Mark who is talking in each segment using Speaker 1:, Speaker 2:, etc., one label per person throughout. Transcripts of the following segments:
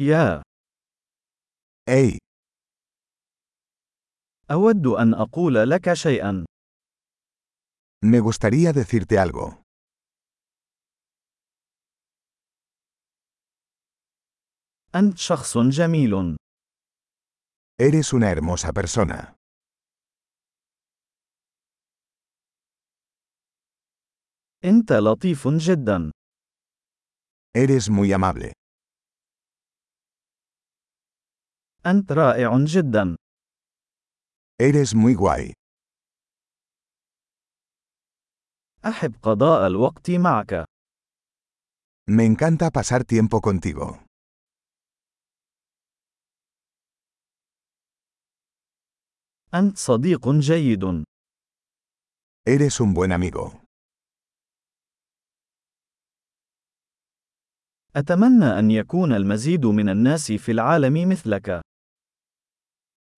Speaker 1: يا
Speaker 2: أي
Speaker 1: أود أن أقول لك شيئا
Speaker 2: Me gustaría decirte algo.
Speaker 1: أنت شخص جميل
Speaker 2: Eres una hermosa persona.
Speaker 1: أنت لطيف جدا
Speaker 2: Eres muy amable.
Speaker 1: أنت رائع جدا
Speaker 2: Eres muy guay.
Speaker 1: أحب قضاء الوقت معك
Speaker 2: Me encanta pasar tiempo contigo.
Speaker 1: أنت صديق جيد
Speaker 2: Eres un buen amigo.
Speaker 1: أتمنى أن يكون المزيد من الناس في العالم مثلك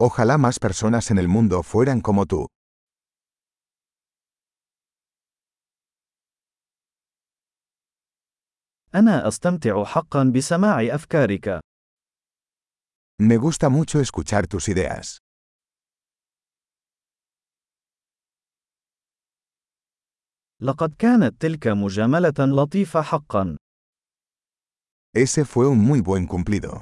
Speaker 2: Ojalá más personas en el mundo fueran como tú.
Speaker 1: أنا أستمتع حقا بسماع أفكارك
Speaker 2: Me gusta mucho escuchar tus ideas.
Speaker 1: لقد كانت تلك مجاملة لطيفة حقا
Speaker 2: Ese fue un muy buen cumplido.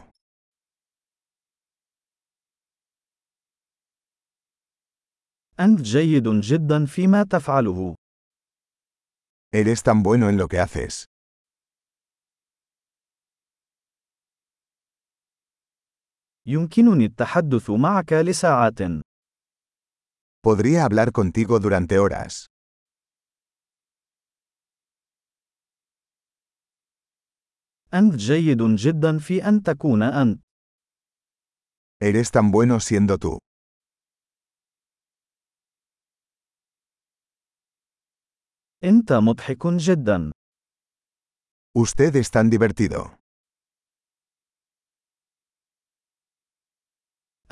Speaker 1: أنت جيد جدا فيما تفعله
Speaker 2: Eres tan bueno en lo que haces.
Speaker 1: يمكنني التحدث معك لساعات
Speaker 2: Podría hablar contigo durante horas.
Speaker 1: أنت جيد جدا في أن تكون أنت.
Speaker 2: Eres tan bueno siendo tú.
Speaker 1: أنت مضحك جدا.
Speaker 2: Usted es tan divertido.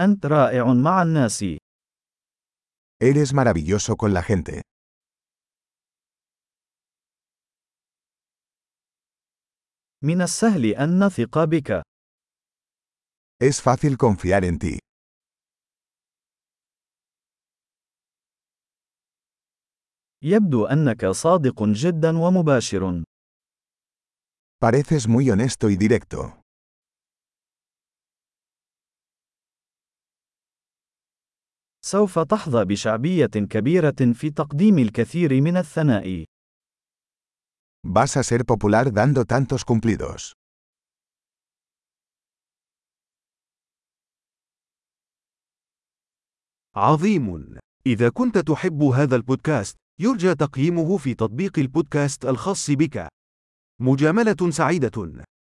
Speaker 1: أنت رائع مع الناس.
Speaker 2: Eres maravilloso con la gente.
Speaker 1: من السهل أن نثق بك.
Speaker 2: Es fácil confiar en ti.
Speaker 1: يبدو أنك صادق جدا ومباشر.
Speaker 2: Pareces muy honesto y directo.
Speaker 1: سوف تحظى بشعبية كبيرة في تقديم الكثير من الثناء.
Speaker 2: Vas a ser popular dando tantos cumplidos.
Speaker 3: عظيم! إذا كنت تحب هذا البودكاست، يرجى تقييمه في تطبيق البودكاست الخاص بك. مجاملة سعيدة!